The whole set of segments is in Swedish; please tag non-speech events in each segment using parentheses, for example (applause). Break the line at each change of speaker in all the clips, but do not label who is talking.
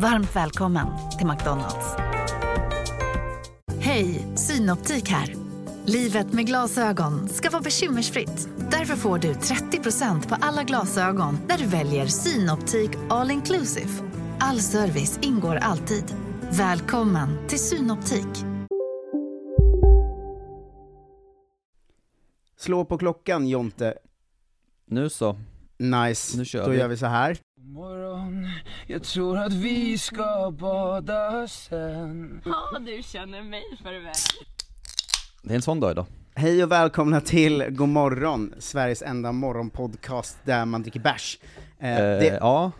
Varmt välkommen till McDonalds. Hej, Synoptik här. Livet med glasögon ska vara bekymmersfritt. Därför får du 30% på alla glasögon när du väljer Synoptik All Inclusive. All service ingår alltid. Välkommen till Synoptik.
Slå på klockan Jonte.
Nu så.
Nice.
Nu kör
Då
vi.
gör vi så här.
Morgon, jag tror att vi ska bada sen
Ja, du känner mig för väl.
Det är en sån dag idag.
Hej och välkomna till God morgon, Sveriges enda morgonpodcast där man dricker bärs. Eh,
Eh,
det,
Ja. Mm.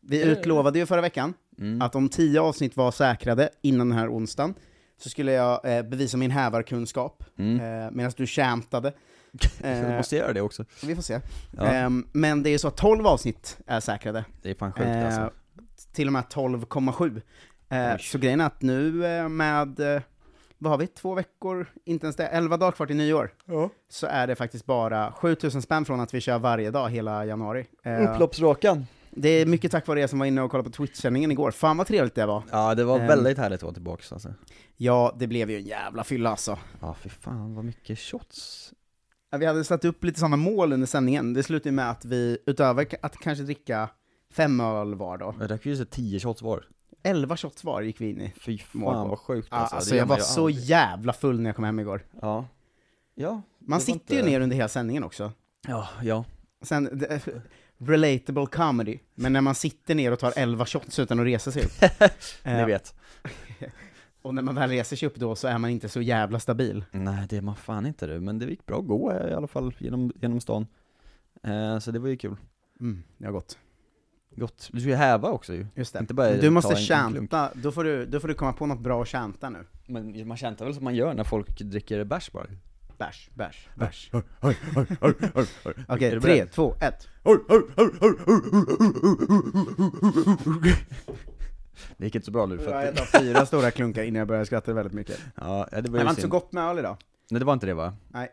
vi utlovade ju förra veckan att om tio avsnitt var säkrade innan den här onsdagen så skulle jag eh, bevisa min hävarkunskap
Mm.
eh, medan du kämtade.
Jag
Eh,
måste göra det också.
vi får se.
Ja.
Ehm, men det är ju så att 12 avsnitt är säkrade.
Det är fan sjukt
Eh,
alltså.
Till och med 12,7. Eh,
Oj.
så grejen är att nu eh, med, eh, vad har vi, två veckor, inte ens det, 11 dagar kvar till nyår. Så är det faktiskt bara 7000 spänn från att vi kör varje dag hela januari. Eh,
Upploppsrakan.
det är mycket tack vare er som var inne och kollade på Twitch-sändningen igår. Fan vad trevligt det var.
Ja, det var
Eh.
väldigt härligt att vara tillbaka alltså.
Ja, det blev ju en jävla fylla alltså.
Ja, fy fan vad mycket shots.
Vi hade satt upp lite sådana mål under sändningen. Det slutade ju med att vi, utöver k- att kanske dricka fem öl var då,
Jag drack ju så 10 shots var.
11 shots var gick vi in i.
Fy fan
Morgon.
vad sjukt
Alltså,
alltså.
alltså
Det gör
jag
man
var
ju
så
aldrig.
jävla full när jag kom hem igår.
Ja. Ja.
Man
det var
sitter ju
inte-
ner under hela sändningen också.
Ja, ja.
Sen, det, relatable comedy. Men när man sitter ner och tar 11 shots utan att resa sig upp.
(laughs) Ni
Eh,
vet.
Och när man väl reser sig upp då så är man inte så jävla stabil.
Nej, det är man fan inte du. Men det gick bra att gå eh, i alla fall genom, genom stan. Eh, så det var ju kul.
Mm, det har gått.
Gott. Du ska ju häva också ju.
Just det.
Inte bara
du måste
ta en- en klunk.
chanta, då får, du, då får du komma på något bra att chanta nu.
Men man känner väl som man gör när folk dricker bärs bara?
Bärs, bärs, bärs.
Är
Okej,
du
tre,
beredd?
två, ett.
(laughs) Det gick inte så bra nu för
Jag
att,
äter
(laughs)
fyra stora klunkar innan jag börjar skratta väldigt mycket.
ja, det var ju
Det var inte så
synd.
gott med öl idag.
Nej det var inte det va?
Nej,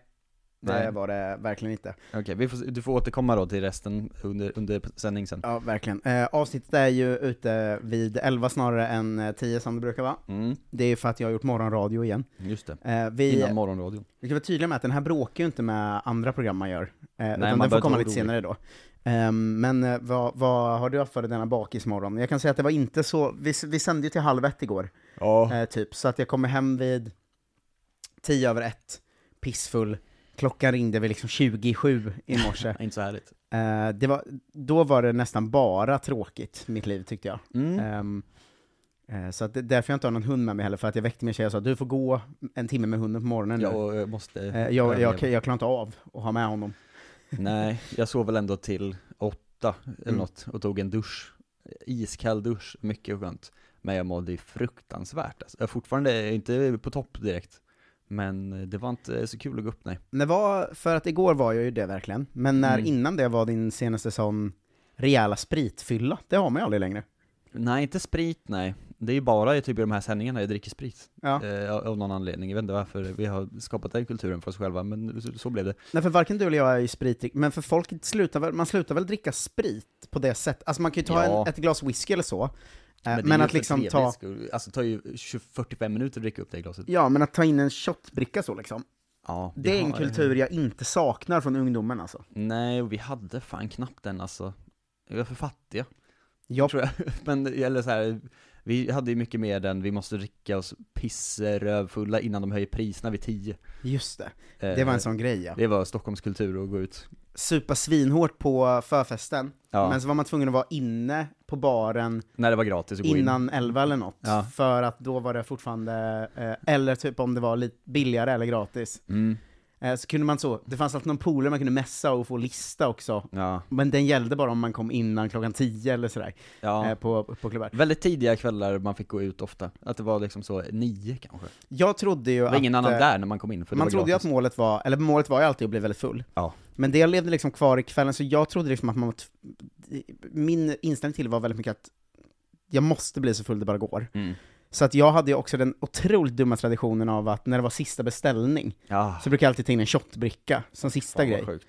det
Nej.
var det verkligen inte.
Okej, vi får, du får återkomma då till resten under, under sändning sen
Ja, verkligen. Eh, avsnittet är ju ute vid 11 snarare än eh, 10 som det brukar vara.
Mm,
Det är ju för att jag har gjort morgonradio igen.
just det.
Eh, vi,
Innan morgonradion.
vi kan vara tydliga med att den här bråkar ju inte med andra program man gör, eh,
man
utan den
behöver
får
inte
komma
vara
lite
orolig.
senare då. Eh, men eh, vad, vad har du haft för dig denna bakismorgon? Jag kan säga att det var inte så, vi, vi sände ju till halv ett igår,
Ja.
eh, typ, så att jag kommer hem vid 10 över ett, pissfull, klockan ringde vid liksom 27 i
(laughs)
morse.
Inte så härligt.
Eh, det var, då var det nästan bara tråkigt, mitt liv tyckte jag.
Mm.
Ehm, eh, så att det, därför jag inte har någon hund med mig heller, för att jag väckte min tjej och sa du får gå en timme med hunden på morgonen nu.
Jag eh, måste...
Eh, jag, jag,
överleva.
jag klarar inte av att ha med honom.
Nej, jag sov väl ändå till åtta eller
Mm.
något och tog en dusch. Iskall dusch, mycket skönt. Men jag mådde ju fruktansvärt alltså. Jag är fortfarande inte på topp direkt. Men det var inte så kul att gå upp nej.
Det var, för att igår var jag ju det verkligen, men när
Mm.
innan det var din senaste sån rejäla spritfylla, det har man ju aldrig längre.
Nej, inte sprit nej. Det är ju bara i typ i de här sändningarna jag dricker sprit.
Ja.
Eh, av av någon anledning, jag vet inte varför vi har skapat den kulturen för oss själva, men så, så blev det.
Nej, för varken du eller jag är ju spritdrick, men för folk slutar väl, man slutar väl dricka sprit på det sättet? Alltså man kan ju ta
Ja.
en, ett glas whisky eller så, eh,
det är
men,
ju
att
för
liksom
trevligt
ta...
skull. Alltså det tar ju 20 45 minuter att dricka upp det glaset.
Ja, men att ta in en shotbricka så liksom.
Ja, vi
Det är en
har-
kultur jag inte saknar från ungdomen alltså.
Nej, och vi hade fan knappt den alltså. Vi var för fattiga,
Jag,
tror jag. (laughs) Men, eller så här, vi hade ju mycket mer den, vi måste dricka oss pissrövfulla innan de höjer priserna vid 10.
just det,
Eh,
det var en sån grej ja.
Det var Stockholmskultur att gå ut.
Supa svinhårt på förfesten,
Ja,
men så var man tvungen att vara inne på baren
när det var gratis att gå in.
innan elva eller något.
Ja.
För att då var det fortfarande, eh, eller typ om det var lite billigare eller gratis.
Mm.
Eh, Så kunde man så, det fanns alltid någon polare man kunde messa och få lista också.
Ja.
Men den gällde bara om man kom innan klockan 10 eller sådär,
ja.
eh, på, på klubbar.
Väldigt tidiga kvällar man fick gå ut ofta. Att det var liksom så nio kanske.
Jag trodde ju
Det var ingen
att,
annan
eh,
där när man kom in för det
man
var
trodde ju att
gratis.
målet var, eller målet var ju alltid att bli väldigt full.
Ja.
Men det levde liksom kvar i kvällen, så jag trodde liksom att man var t- min inställning till det var väldigt mycket att jag måste bli så full det bara går.
Mm.
Så att jag hade ju också den otroligt dumma traditionen av att när det var sista beställning,
Ja.
så brukade jag alltid ta in en shotbricka som sista
Fan, vad
grej.
sjukt.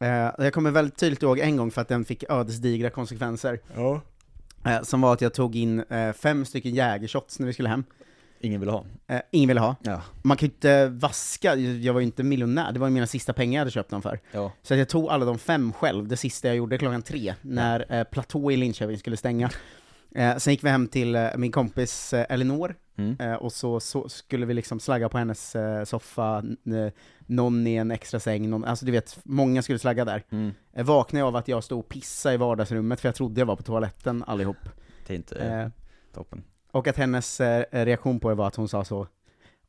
Eh, och jag kommer väldigt tydligt ihåg en gång för att den fick ödesdigra konsekvenser. Eh, som var att jag tog in eh, fem stycken jägershots när vi skulle hem.
Ingen vill ha.
Eh, ingen ville ha.
Ja.
Man kan ju inte vaska, jag var ju inte miljonär, det var ju mina sista pengar jag hade köpt dem för.
Ja.
Så att jag tog alla de fem själv, det sista jag gjorde klockan tre, när eh, Platå i Linköping skulle stänga. Eh, sen gick vi hem till eh, min kompis eh, Elinor,
Mm.
eh, och så, så skulle vi liksom slagga på hennes eh, soffa, n- eh, någon i en extra säng, någon, alltså du vet, många skulle slagga där.
Mm.
Eh, vaknade jag av att jag stod och pissade i vardagsrummet, för jag trodde jag var på toaletten allihop.
Det är inte eh.
Eh,
toppen.
och att hennes eh, reaktion på det var att hon sa så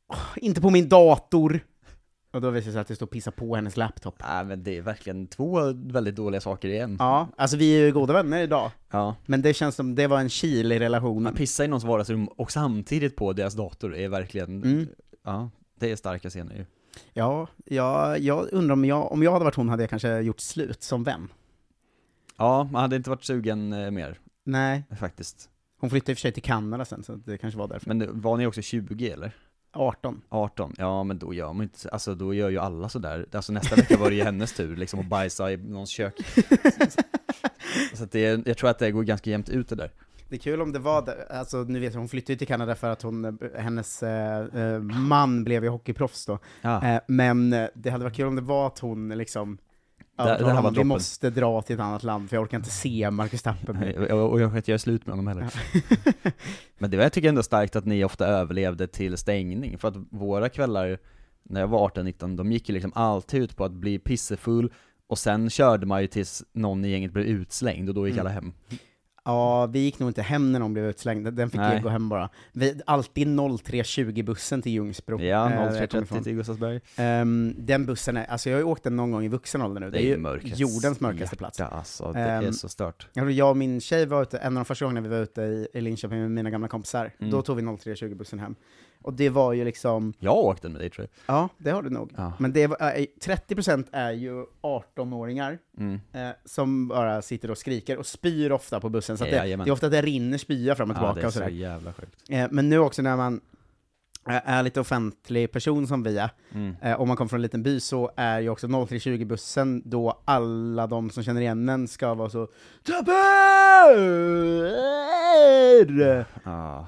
"Åh, inte på min dator! Och då visade det sig att det stod pissa på hennes laptop.
Nej men det är verkligen två väldigt dåliga saker i en.
Ja, alltså vi är ju goda vänner idag,
Ja.
men det känns som det var en kil i relationen.
Att pissa i någons vardagsrum och samtidigt på deras dator är verkligen,
Mm.
ja, det är starka scener ju.
Ja, jag, jag undrar om jag, om jag hade varit hon hade jag kanske gjort slut som vän.
Ja, man hade inte varit sugen eh, mer
Nej,
faktiskt.
hon flyttade i och för sig till Kanada sen, så det kanske var därför.
Men nu- var ni också 20 eller?
18.
18? Ja men då gör man inte, alltså då gör ju alla sådär, alltså nästa vecka var det ju hennes tur liksom att bajsa i någons kök. Så att det, är- jag tror att det går ganska jämnt ut det där.
(laughs) Det är kul om det var där. alltså nu vet jag, hon flyttade ju till Kanada för att hon, eh, hennes eh, eh, man blev ju hockeyproffs då.
Ja,
Eh, men eh, det hade varit kul om det var att hon liksom
Det- det här
övertalade
var
honom, vi
droppen."
måste dra till ett annat land för jag orkar inte se Marcus Tapper.
och och jag kan inte göra slut med honom heller. Men det var, jag tycker ändå starkt att ni ofta överlevde till stängning, för att våra kvällar när jag var 18-19, de gick ju liksom alltid ut på att bli pissefull, och sen körde man ju tills någon i gänget blev utslängd, och då gick
Mm.
alla hem.
ja, vi gick nog inte hem när någon blev utslängd, den fick
Nej.
ju gå hem bara. Vi, alltid 03.20-bussen till Ljungsbro.
Ja,
eh, där jag kommer
03.30
ifrån.
till Gustavsberg.
Ehm, den bussen är, alltså jag har ju åkt den någon gång i vuxen ålder nu, det, är ju
mörkrets
jordens mörkaste plats.
Ja, alltså det är
Ehm,
så stört.
Jag tror Jag och min tjej var ute, en av de första gångerna vi var ute i, i Linköping med mina gamla kompisar,
Mm.
då tog vi 03.20-bussen hem. Och det var ju liksom,
Jag åkte med dig tror jag.
ja det har du nog.
Ja.
Men det var, eh, 30% är ju 18-åringar
Mm.
eh, som bara sitter och skriker och spyr ofta på bussen. Så att det, det
Jajamän.
är ofta att det rinner spya fram och tillbaka
ja,
och
det är så
sådär.
jävla sjukt.
Eh, men nu också när man eh, är lite offentlig person som vi är,
Mm.
eh, om man kommer från en liten by, så är ju också 0320-bussen då alla de som känner igen den ska vara så Tapper! Eh,
Ja.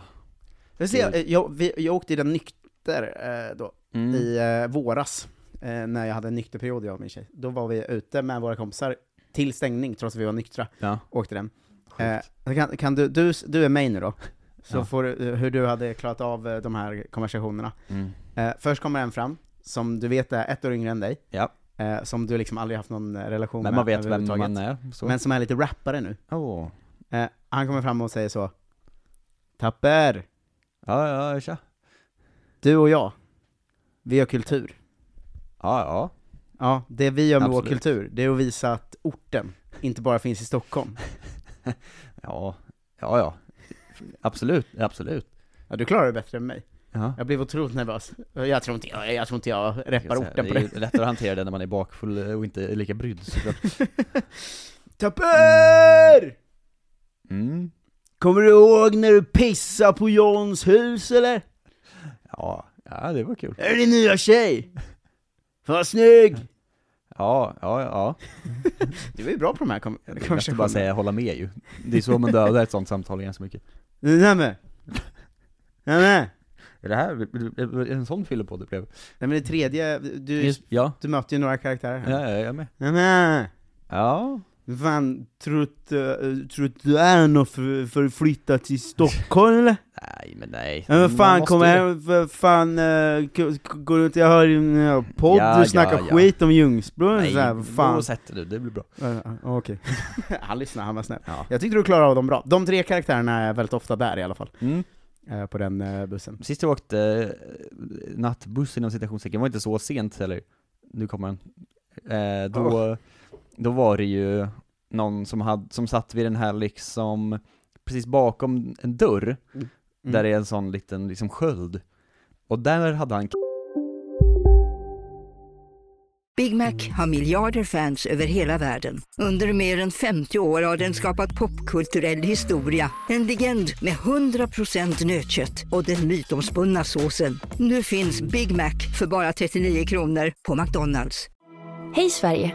Jag, ser, eh, jag, vi, jag åkte i den nykter eh, då,
Mm.
i eh, våras, eh, när jag hade en nykterperiod jag och min tjej. Då var vi ute med våra kompisar till stängning, trots att vi var nyktra,
Ja,
åkte den. Eh,
sjukt.
kan, kan du, du, du är mig nu då, så
Ja.
får du, eh, hur du hade klarat av eh, de här konversationerna.
Mm.
Eh, först kommer en fram, som du vet är ett år yngre än dig,
Ja,
eh, som du liksom aldrig haft någon eh, relation
men
med
man vet vem
överhuvudtaget.
man är. Så.
Men som är lite rappare nu.
Åh.
Eh, han kommer fram och säger så, Tapper!
Ja, ja, tja.
Du och jag, vi gör kultur.
Ja, ja.
Ja, det vi gör med vår
Absolut.
kultur, det är att visa att orten inte bara finns i Stockholm.
Ja, ja, ja. Absolut, absolut.
Ja, du klarar det bättre än mig.
Ja.
Jag blev otroligt nervös. Jag tror inte jag, jag, tror inte jag
Jag
reppar
ska säga,
orten på
det är
det.
ju lättare att hantera det när man är bakfull eh, och inte är lika brydd
(laughs)
såklart.
Tapper!
Mm.
Kommer du ihåg när du pissade på Johns hus eller?
Ja, ja, det var kul.
Är det din nya tjej? Fan vad snygg!
Ja, ja, ja.
Du var ju bra på de här kom-
Jag måste bara säga hålla med ju. Det är så man dödar ett sånt samtal ganska mycket.
Nämen! Nämen!
Är det här är det en sån fyllepodd det blev?
Nej men det tredje, du,
Just, ja,
du möter ju några karaktärer
ja,
här.
ja, jag är med.
Nämen!
Ja,
Fan, tror du att du är någon för, för att flytta till Stockholm eller?
nej men nej.
Ja, men
Man
fan,
måste
kom
ju-
hem, för fan, eh, k- k- går runt, jag hör din eh, podd,
Ja,
du snackar
ja, ja.
skit om Ljungsbro och
Nej,
så här, vad fan.
då sätter du, det blir bra.
Eh, eh, Okej. (laughs) han lyssnar, han var snäll.
Ja.
Jag tyckte du klarade av dem bra. De tre karaktärerna är väldigt ofta där i alla fall,
Mm.
eh, på den eh, bussen.
Sist jag åkte eh, nattbuss inom citationstecken var inte så sent heller. nu kommer den. Eh, då, då var det ju någon som, hade, som satt vid den här liksom, precis bakom en dörr,
Mm.
där det är en sån liten liksom sköld. Och där hade han
Big Mac har miljarder fans över hela världen. Under mer än 50 år har den skapat popkulturell historia. En legend med 100% nötkött och den mytomspunna såsen. Nu finns Big Mac för bara 39 kronor på McDonalds.
Hej Sverige!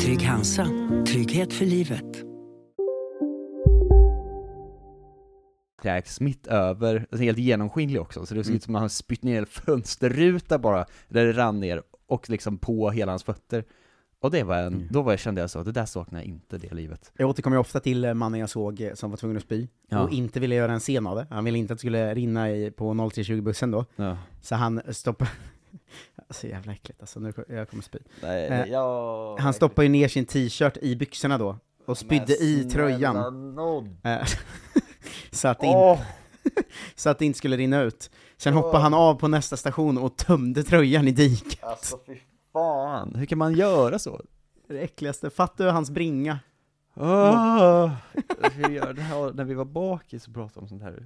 Trygg-Hansa. Trygghet för livet.
kräks mitt över, alltså helt genomskinlig också, så det ser ut som att han har spytt ner en fönsterruta bara, där det rann ner, och liksom på hela hans fötter. Och det var en, då var jag, kände jag så, det där saknar jag inte, det livet.
Jag återkommer ju ofta till eh, mannen jag såg eh, som var tvungen att spy
Ja.
och inte ville göra en scen av det. Han ville inte att det skulle rinna i, på 0320-bussen då,
Ja.
så han stoppade... (laughs) Så jävla äckligt alltså, nu, jag kommer spy.
Nej,
Eh,
jag...
Han stoppade ju ner sin t-shirt i byxorna då, och spydde i tröjan. alltså, Eh, (laughs) så, att det in, så att det inte skulle rinna ut. Sen hoppade han av på nästa station och tömde tröjan i diket. (laughs)
Alltså fy fan, hur kan man göra så?
Det äckligaste, fattar du hans bringa? Mm.
Oh, hur gör det här, när vi var bakis och pratade om sånt här.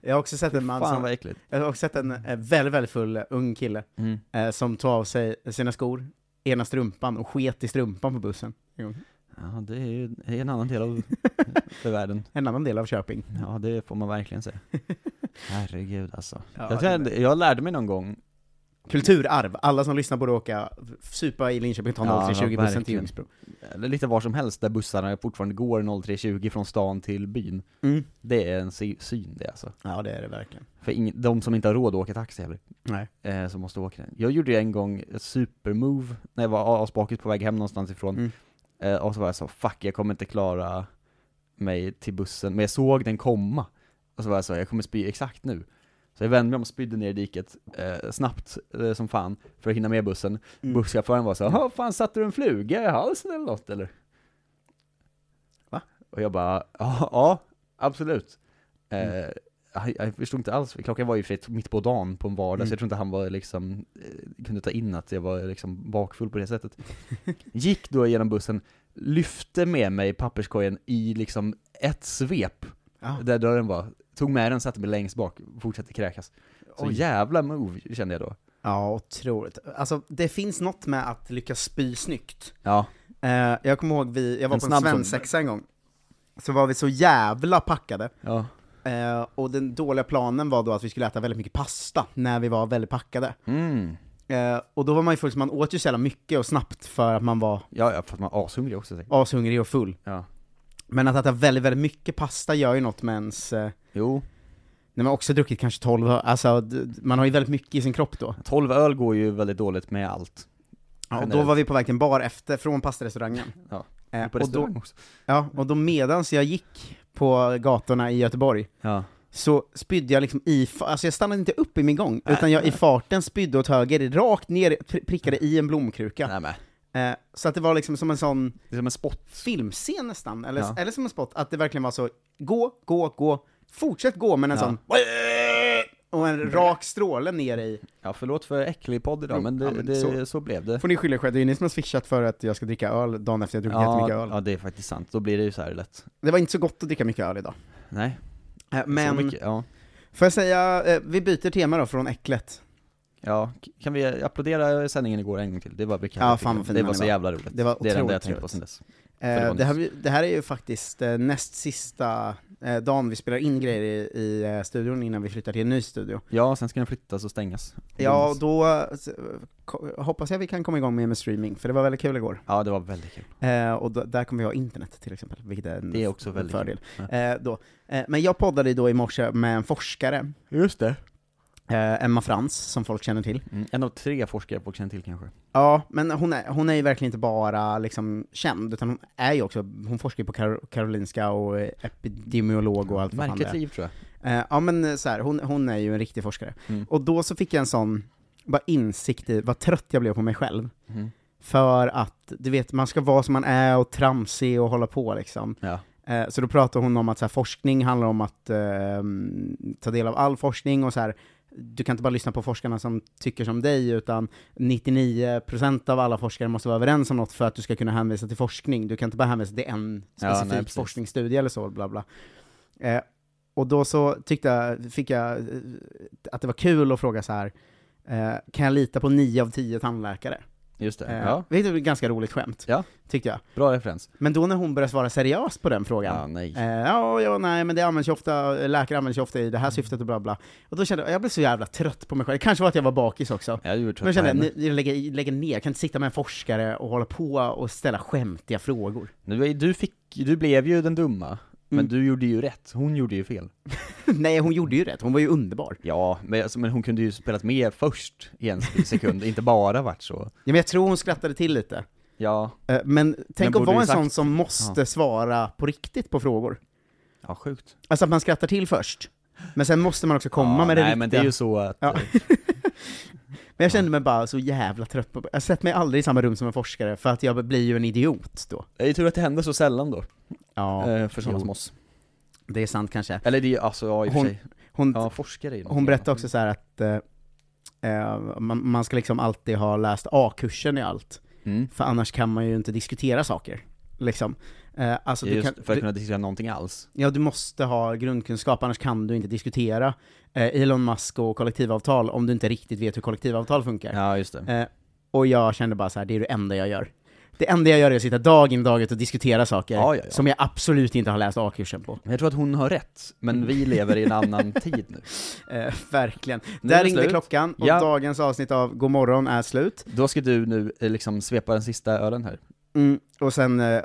Jag har också sett en man
Fan
som,
vad äckligt.
jag har också sett en eh, väldigt, väldigt full eh, ung kille
Mm.
eh, som tog av sig sina skor, ena strumpan och sket i strumpan på bussen. en gång.
Ja, det är ju det är en annan
(laughs)
del av för världen.
En annan del av Köping.
Ja, det får man
(laughs)
verkligen säga. Herregud alltså.
Ja,
jag, tror jag, jag lärde mig någon gång,
Kulturarv, alla som lyssnar borde åka, f- supa i Linköping, ta
Ja,
0320-bussen till
verkligen.
Ljungsbro.
eller lite var som helst, där bussarna fortfarande går 03.20 från stan till byn.
Mm.
Det är en sy- syn det alltså.
Ja, det är det verkligen.
För ingen, de som inte har råd att åka taxi heller,
Nej.
eh, som måste åka den. Jag gjorde ju en gång ett supermove, när jag var asbakis på väg hem någonstans ifrån,
Mm.
eh, och så var jag så 'fuck, jag kommer inte klara mig till bussen' Men jag såg den komma, och så var jag så 'jag kommer spy exakt nu' Så jag vände mig om och spydde ner i diket, eh, snabbt eh, som fan, för att hinna med bussen.
Mm.
Busschauffören var så 'Jaha, fan satte du en fluga i halsen eller något eller?'
Va?
Och jag bara 'Ja, ja absolut' eh,
Mm.
jag, jag förstod inte alls, klockan var ju i och för sig mitt på dagen på en vardag,
Mm.
så jag tror inte han var liksom, eh, kunde ta in att jag var liksom bakfull på det sättet. Gick då genom bussen, lyfte med mig papperskorgen i liksom ett svep,
Ja.
där dörren var, tog med den, satte mig längst bak, fortsatte kräkas. Så
Oj.
jävla move kände jag då.
Ja, otroligt. Alltså, det finns något med att lyckas spy snyggt.
Ja.
Eh, jag kommer ihåg, vi, jag var
En
på en
snabb sån.
svensexa en gång, så var vi så jävla packade,
Ja.
eh, och den dåliga planen var då att vi skulle äta väldigt mycket pasta när vi var väldigt packade.
Mm.
Eh, och då var man ju full, så man åt ju så jävla mycket och snabbt för att man var
Ja, ja, för att man är ashungrig också. säkert.
ashungrig och full.
Ja.
Men att äta väldigt, väldigt mycket pasta gör ju något med ens, eh,
Jo,
när man också druckit kanske 12, alltså d- d- man har ju väldigt mycket i sin kropp då.
12 öl går ju väldigt dåligt med allt.
Ja, och då
Generellt.
var vi på väg till en bar efter, från pastarestaurangen.
Ja.
Eh,
På
och, då,
restaurang också.
ja, och då medans jag gick på gatorna i Göteborg,
Ja.
så spydde jag liksom i, fa- alltså jag stannade inte upp i min gång, utan jag i farten spydde åt höger, rakt ner, pri- prickade i en blomkruka.
Nej, men.
Eh, så att det var liksom som en sån
Det är som en spott.
filmscen nästan, eller,
Ja.
eller som en spot, att det verkligen var så, gå, gå, gå, fortsätt gå, men en
Ja.
sån och en rak stråle ner i.
Ja, förlåt för äcklig podd idag,
Jo,
men, det,
ja, men
det,
så-
så. blev det.
Får ni skylla er själva, det är ju ni som har swishat för att jag ska dricka öl dagen efter jag druckit jättemycket öl.
ja, det är faktiskt sant. Då blir det ju så här lätt.
Det var inte så gott att dricka mycket öl idag.
Nej,
Eh,
så
Men,
mycket, ja.
får jag säga, eh, vi byter tema då från äcklet.
ja. k- Kan vi applådera sändningen igår en gång till? Det var vi kan
Ja,
jag tycka.
fan vad fin
Det
man
var så
var.
jävla roligt.
Det var
det är det enda jag
otroligt
tänkt på
roligt.
sen dess. det
Eh,
var
Det här,
nyss.
det här är ju faktiskt eh, näst sista eh, dagen vi spelar in grejer i, i eh, studion innan vi flyttar till en ny studio.
Ja, sen ska den flyttas och stängas. Mm.
Ja, och då eh, s- ko- hoppas jag vi kan komma igång med, med streaming, för det var väldigt kul igår.
Ja, det var väldigt kul.
Eh, och då, där kommer vi ha internet till exempel, vilket är en
Det är också
f-
väldigt
fördel.
kul.
Eh, då. Eh, men jag poddade ju då i morse med en forskare
Just det.
Eh, Emma Frans, som folk känner till.
Mm, en av tre forskare folk känner till kanske.
Ja, men hon är, hon är ju verkligen inte bara liksom känd, utan hon är ju också, hon forskar ju på Kar Karolinska och är epidemiolog och allt vad fan det
Märkligt
är.
liv tror jag.
Eh, Ja men så här, hon, hon är ju en riktig forskare.
Mm.
Och då så fick jag en sån, bara insikt i vad trött jag blev på mig själv.
Mm.
För att, du vet, man ska vara som man är och tramsig och hålla på liksom.
Ja.
Eh, Så då pratar hon om att så här, forskning handlar om att eh, ta del av all forskning och så här, du kan inte bara lyssna på forskarna som tycker som dig, utan 99% av alla forskare måste vara överens om något för att du ska kunna hänvisa till forskning. Du kan inte bara hänvisa till en
Ja, nej,
specifik
precis.
forskningsstudie eller så, bla bla. Eh, och då så tyckte jag, fick jag eh, att det var kul att fråga så här, eh, kan jag lita på 9 av 10 tandläkare?
Just det.
Eh,
Ja.
Vilket är ett ganska roligt skämt,
Ja.
tyckte jag.
Bra referens.
Men då när hon började svara seriöst på den frågan,
Ja, nej.
Eh, ja, ja, nej, men det används ju ofta, läkare används ju ofta i det
Mm.
här syftet och bla bla. Och då kände jag, jag blev så jävla trött på mig själv. Det kanske var att jag var bakis också.
Jag gjorde
Men jag kände,
nu,
nu- jag lägger, lägger ner, jag kan inte sitta med en forskare och hålla på och ställa skämtiga frågor. (laughs)
nu, är- du, fick, du blev ju den dumma, men
Mm.
du gjorde ju rätt. Hon gjorde ju fel.
nej, hon gjorde ju rätt, hon var ju underbar.
Ja, men, alltså, men hon kunde ju spelat med först i en sekund, inte bara varit så.
Ja, men jag tror hon skrattade till lite.
Ja,
Eh, Men tänk att
borde
vara
ju
en sån
sagt-
som måste svara på riktigt på frågor.
ja sjukt.
Alltså att man skrattar till först, men sen måste man också komma
ja,
med det
nej,
riktiga.
men det är ju så att... eh,
Ja. Men jag kände mig bara så jävla trött på Jag sätter mig aldrig i samma rum som en forskare, för att jag blir ju en idiot då.
Det är ju tur att det händer så sällan då,
Ja,
eh, för sådana
jo.
som oss.
det är sant kanske.
Eller det är ju, alltså, ja i och för
Hon-
sig.
Hon,
Ja, forskare är ju
hon berättade också så här att eh, eh, man, man ska liksom alltid ha läst A-kursen i allt,
Mm.
för annars kan man ju inte diskutera saker. Liksom. Eh, alltså du
Just
kan,
för att
du,
kunna diskutera någonting alls.
ja, du måste ha grundkunskap, annars kan du inte diskutera eh, Elon Musk och kollektivavtal om du inte riktigt vet hur kollektivavtal funkar.
Ja, just det.
Eh, och jag kände bara så här, det är det enda jag gör. Det enda jag gör är att sitta dag in dag ut och diskutera saker
Ja, ja, ja.
som jag absolut inte har läst A-kursen på.
Men jag tror att hon har rätt, men vi lever i en
(laughs)
annan tid nu.
Eh, verkligen.
Nu är
Där
det
ringde
slut.
klockan och
Ja.
dagens avsnitt av God morgon är slut.
Då ska du nu eh, liksom svepa den sista ölen här.
Mm. Och sen, eh,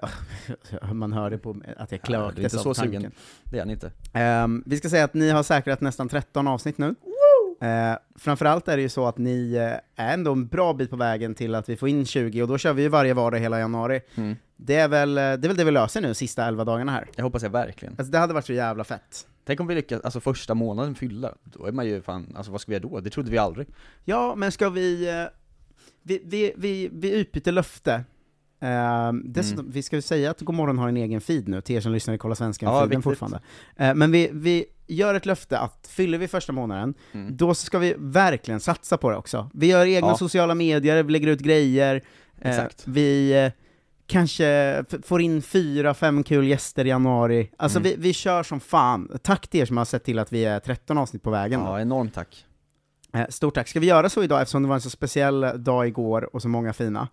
(laughs) man hörde på mig att jag
Ja, du är
klöktes
inte
av
så
tanken.
sugen. Det är han inte.
Ehm, vi ska säga att ni har säkrat nästan 13 avsnitt nu. Eh, framförallt är det ju så att ni eh, är ändå en bra bit på vägen till att vi får in 20, och då kör vi ju varje vardag hela januari.
Mm.
Det, är väl, eh, det är väl det vi löser nu, sista 11 dagarna här.
Jag hoppas jag verkligen.
Alltså det hade varit så jävla fett.
Tänk om vi lyckas, alltså första månaden fylla, då är man ju fan, alltså vad ska vi göra då? Det trodde vi aldrig.
Ja, men ska vi... eh, Vi, vi, vi, vi utbyter löfte. Eh, dessutom, Vi ska ju säga att Godmorgon har en egen feed nu, till er som lyssnar i Kolla
Ja,
Svenskan-feeden
viktigt.
fortfarande. Eh, men vi, vi gör ett löfte att fyller vi första månaden,
Mm.
då ska vi verkligen satsa på det också. Vi gör egna
Ja.
sociala medier, vi lägger ut grejer, eh,
Exakt.
vi eh, kanske f- får in fyra, fem kul gäster i januari. Alltså
Mm.
vi, vi kör som fan. Tack till er som har sett till att vi är 13 avsnitt på vägen. då.
Ja, enormt tack.
Eh, Stort tack. Ska vi göra så idag, eftersom det var en så speciell eh, dag igår och så många fina?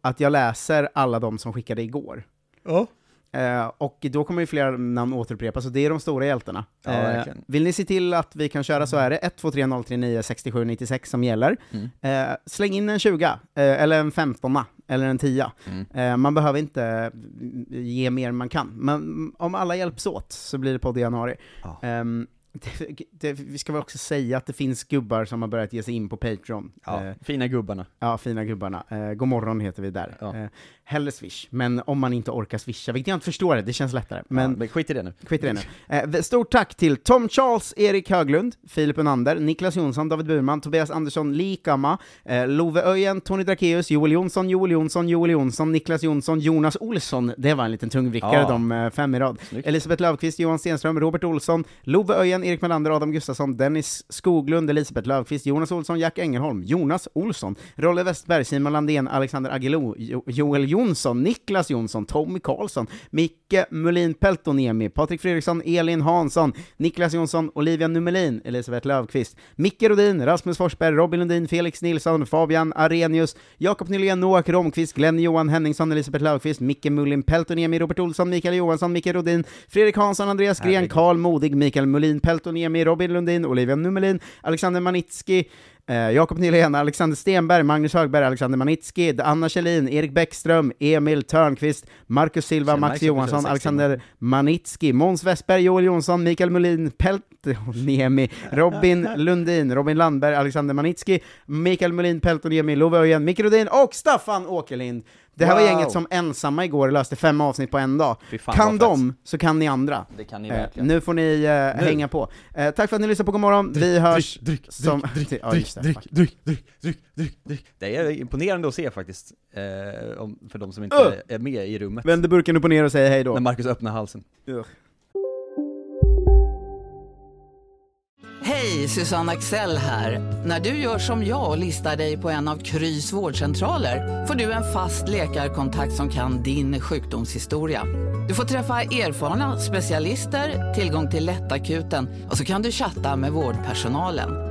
Att jag läser alla de som skickade igår. Eh, och då kommer ju flera namn återupprepas, och det är de stora hjältarna. Eh,
Ja, verkligen.
vill ni se till att vi kan köra så är det 123039 6796 som gäller.
Mm.
Eh, släng in en 20 eh, eller en 15 eller en 10
Mm.
eh, Man behöver inte ge mer än man kan. Men om alla hjälps åt så blir det podd i januari.
Ja.
Ehm, (laughs) det, det, vi ska väl också säga att det finns gubbar som har börjat ge sig in på Patreon.
Ja,
Eh,
fina gubbarna.
ja fina gubbarna. Eh, God morgon heter vi där.
Ja.
Eh, hellre swish, men om man inte orkar swisha, vilket jag inte förstår, det, det känns lättare. Men
Men, ja, men skit i det nu.
Skit i det nu. Eh, stort tack till Tom Charles, Erik Höglund, Filip Unander, Niklas Jonsson, David Burman, Tobias Andersson, Likama, eh, Love Öjen, Tony Drakeus, Joel Jonsson, Joel Jonsson, Joel Jonsson, Niklas Jonsson, Jonas Olsson, det var en liten tungvrickare
Ja.
de eh, fem i rad.
Snyggt.
Elisabeth Löfqvist, Johan Stenström, Robert Olsson, Love Öjen, Erik Melander, Adam Gustafsson, Dennis Skoglund, Elisabeth Löfqvist, Jonas Olsson, Jack Engelholm, Jonas Olsson, Rolle Westberg, Simon Landén, Alexander Agelo, jo Joel Jonsson, Niklas Jonsson, Tommy Karlsson, Micke Mulin Peltoniemi, Patrik Fredriksson, Elin Hansson, Niklas Jonsson, Olivia Numelin, Elisabeth Löfqvist, Micke Rodin, Rasmus Forsberg, Robin Lundin, Felix Nilsson, Fabian Arrhenius, Jakob Nylén, Noak Romqvist, Glenn Johan Henningsson, Elisabeth Löfqvist, Micke Mullin Peltoniemi, Robert Olsson, Mikael Johansson, Micke Rodin, Fredrik Hansson, Andreas Gren,
Herregud.
Karl Modig, Mikael Mullin Peltoniemi, Robin Lundin, Olivia Numelin, Alexander Manitski, Eh, Jakob Nylén, Alexander Stenberg, Magnus Högberg, Alexander Manitski, Anna Kjellin, Erik Bäckström, Emil Törnqvist, Marcus Silva,
Känner
Max
Max som
Johansson,
kör 60
Alexander Manitski, Måns Westberg, Joel Jonsson, Mikael Molin, Pel- Peltoniemi, Robin Lundin, Robin Landberg, Alexander Manitski, Mikael Molin Peltoniemi, Love Öjen, Micke Rodin och Staffan Åkerlind. Det här var
Wow.
gänget som ensamma igår löste fem avsnitt på en dag.
Fy fan,
kan
vad fett.
de, så kan ni andra.
Det kan ni
Eh,
verkligen.
nu får ni eh, hänga på. Eh, tack för att ni lyssnade på Godmorgon, vi hörs som... Ja, just det. Fuck.
Det är imponerande att se faktiskt, eh, om, för de som inte
Öh!
är med i rummet.
Vänder burken upp och ner och säger hej då.
När Marcus öppnar halsen.
Hej, Susanne Axel här. När du gör som jag och listar dig på en av Krys vårdcentraler får du en fast läkarkontakt som kan din sjukdomshistoria. Du får träffa erfarna specialister, tillgång till lättakuten och så kan du chatta med vårdpersonalen.